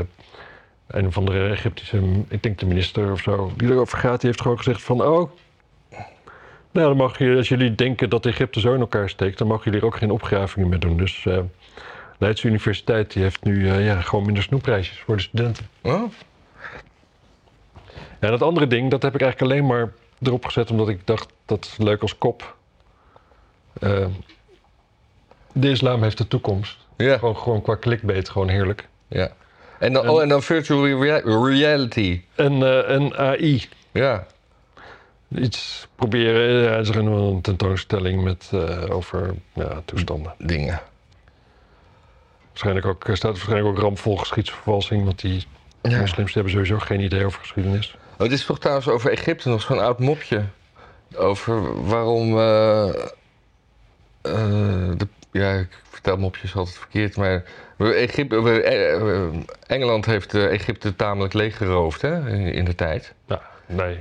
A: een of andere Egyptische, ik denk de minister of zo, die erover gaat, die heeft gewoon gezegd van, oh, nou dan mag je, als jullie denken dat Egypte zo in elkaar steekt, dan mogen jullie er ook geen opgravingen meer doen. Dus eh Leidse Universiteit die heeft nu eh, ja, gewoon minder snoepreisjes voor de studenten.
B: Oh,
A: Ja, dat andere ding, dat heb ik eigenlijk alleen maar erop gezet omdat ik dacht dat is leuk als kop. Eh, de islam heeft de toekomst.
B: ja.
A: Gewoon, gewoon qua clickbait, gewoon heerlijk.
B: ja. En, dan,
A: En-
B: oh, en dan virtual rea- reality.
A: En, eh, en AI.
B: Ja.
A: Iets proberen. eh, er is een tentoonstelling met, eh, over ja, toestanden.
B: Dingen.
A: Waarschijnlijk ook, er staat waarschijnlijk ook ramvol geschiedsvervalsing, want die
B: Ja.
A: moslims hebben sowieso geen idee over geschiedenis.
B: Oh, dit is toch trouwens over Egypte nog zo'n oud mopje. Over waarom. eh, eh, de, ja, ik vertel mopjes altijd verkeerd, maar. Egypte, we- eh, eh, Engeland heeft eh, Egypte tamelijk leeggeroofd hè, in- in de tijd.
A: Nou, nee,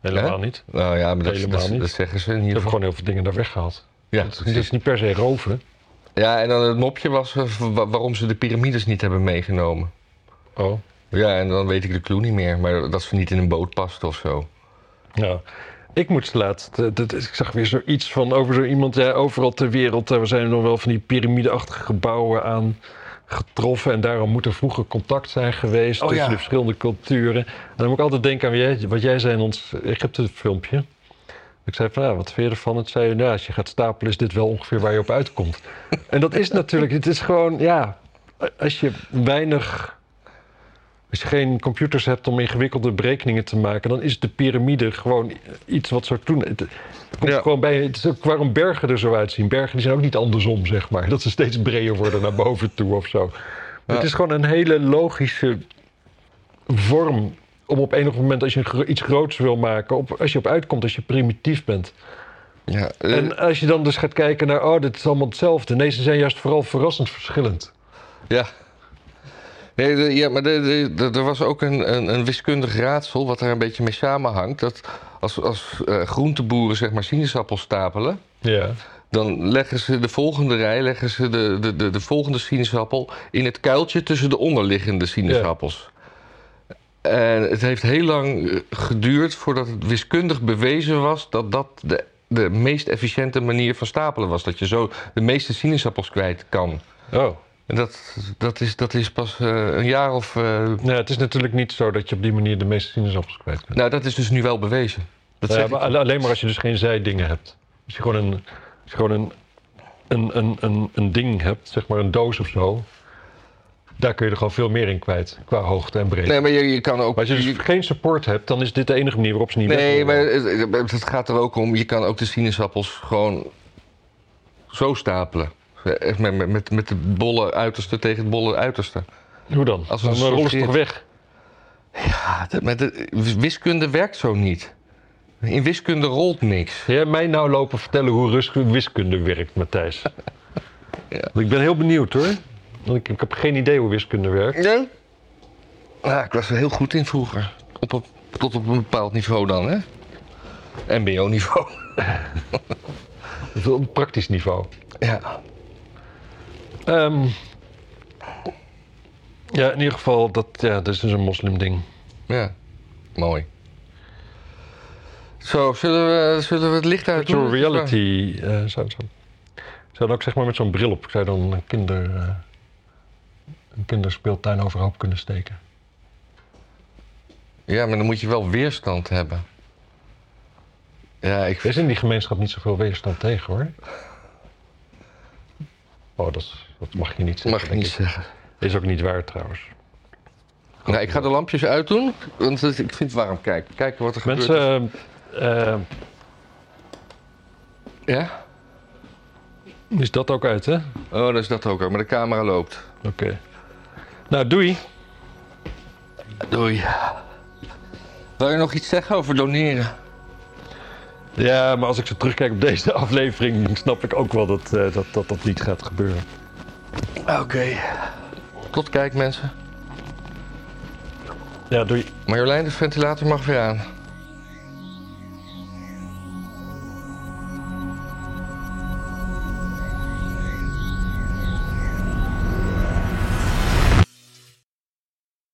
A: helemaal niet. Ze
B: Nou ja, maar dat,
A: Helemaal
B: dat,
A: niet.
B: dat zeggen ze in ieder
A: hebben
B: geval.
A: gewoon heel veel dingen daar weggehaald.
B: Ja, dus-
A: Het is niet per se roven.
B: ja, en dan het mopje was eh, wa- waarom ze de piramides niet hebben meegenomen.
A: Oh.
B: Ja, en dan weet ik de clue niet meer, maar dat ze niet in een boot past of zo.
A: Ja. Ik moest laatst, eh, dat- ik zag weer zoiets van over zo iemand, ja, overal ter wereld, eh, we zijn nog wel van die piramideachtige gebouwen aan getroffen en daarom moet er vroeger contact zijn geweest
B: Oh,
A: tussen
B: ja.
A: de verschillende culturen. En dan moet ik altijd denken aan wat jij, wat jij zei in ons Egypte-filmpje. Ik zei van, ja, wat vind je ervan? Het zei je, nou, als je gaat stapelen is dit wel ongeveer waar je op uitkomt. en dat is natuurlijk, het is gewoon, ja, als je weinig als je geen computers hebt om ingewikkelde berekeningen te maken, dan is de piramide gewoon iets wat zo toen. Het, het komt
B: Ja.
A: gewoon bij. Het is ook waarom bergen er zo uitzien. Bergen die zijn ook niet andersom, zeg maar. Dat ze steeds breder worden naar boven toe of zo.
B: Ja.
A: Het is gewoon een hele logische vorm om op enig moment, als je gro- iets groots wil maken, op, als je op uitkomt, als je primitief bent.
B: Ja, eh,
A: En als je dan dus gaat kijken naar, oh, dit is allemaal hetzelfde. Nee, ze zijn juist vooral verrassend verschillend.
B: Ja. Nee, de- ja, maar de- de- de- er was ook een, een, een wiskundig raadsel wat er een beetje mee samenhangt. Dat als, als eh, groenteboeren zeg maar sinaasappels stapelen,
A: Ja.
B: dan leggen ze de volgende rij, leggen ze de, de, de, de volgende sinaasappel in het kuiltje tussen de onderliggende sinaasappels. En het heeft heel lang eh, geduurd voordat het wiskundig bewezen was dat dat de, de meest efficiënte manier van stapelen was. Dat je zo de meeste sinaasappels kwijt kan.
A: Oh.
B: En Dat, dat, is, dat is pas eh, een jaar of. eh,
A: Nou, het is natuurlijk niet zo dat je op die manier de meeste sinaasappels kwijt bent.
B: nou, dat is dus nu wel bewezen. Dat
A: Ja,
B: zeg
A: maar
B: ik.
A: alle- alleen maar als je dus geen zijdingen hebt. Als je gewoon, een, als je gewoon een, een, een, een, een ding hebt, zeg maar een doos of zo. Daar kun je er gewoon veel meer in kwijt, qua hoogte en breedte.
B: Nee, maar je, je kan ook.
A: Maar als je
B: je-
A: dus geen support hebt, dan is dit de enige manier waarop ze niet
B: nee,
A: weg
B: maar
A: willen.
B: het, het- het gaat er ook om. Je kan ook de sinaasappels gewoon zo stapelen. Echt Met, met, met, met de bolle uiterste tegen het bolle uiterste.
A: Hoe dan?
B: Als een
A: dan
B: soort
A: rollen ze toch
B: grid.
A: weg?
B: Ja, dat- maar de, wiskunde werkt zo niet. In wiskunde rolt niks.
A: Ga jij mij nou lopen vertellen hoe rus- wiskunde werkt, Matthijs? Want Ik ben heel benieuwd hoor. Want ik, ik heb geen idee hoe wiskunde werkt.
B: Nee? Ja, ik was er heel goed in vroeger. Op een- tot op een bepaald niveau dan, hè? MBO-niveau.
A: Dat is op een praktisch niveau.
B: Ja.
A: Ehm, ja, in ieder geval, dat, ja, dat is dus een moslimding.
B: Ja. Mooi. Zo, zullen we, zullen we het licht uit
A: Virtual reality. eh zou, zou, ik zou dan ook zeg maar met zo'n bril op. Ik zou dan een, kinder, eh, een kinderspeeltuin overhoop kunnen steken.
B: Ja, maar dan moet je wel weerstand hebben. Ja, ik
A: Er is in die gemeenschap niet zoveel weerstand tegen hoor. Oh, dat, is- dat mag je niet zeggen.
B: mag ik
A: denk
B: niet zeggen.
A: Is ook niet waar trouwens.
B: Nou, ik ga de lampjes uitdoen, want het- ik vind het warm. Kijk, kijken wat er gebeurt.
A: Mensen, eh, eh,
B: Ja?
A: is dat ook uit hè? Oké.
B: Oh, dat is dat ook al, maar de camera loopt.
A: Nou, doei.
B: Doei. Wil je nog iets zeggen over doneren?
A: Ja, maar als ik zo terugkijk op deze aflevering, dan snap ik ook wel dat eh, dat, dat, dat niet gaat gebeuren.
B: Oké. Tot kijk, mensen.
A: Ja, doei.
B: Marjolein, de ventilator mag weer aan.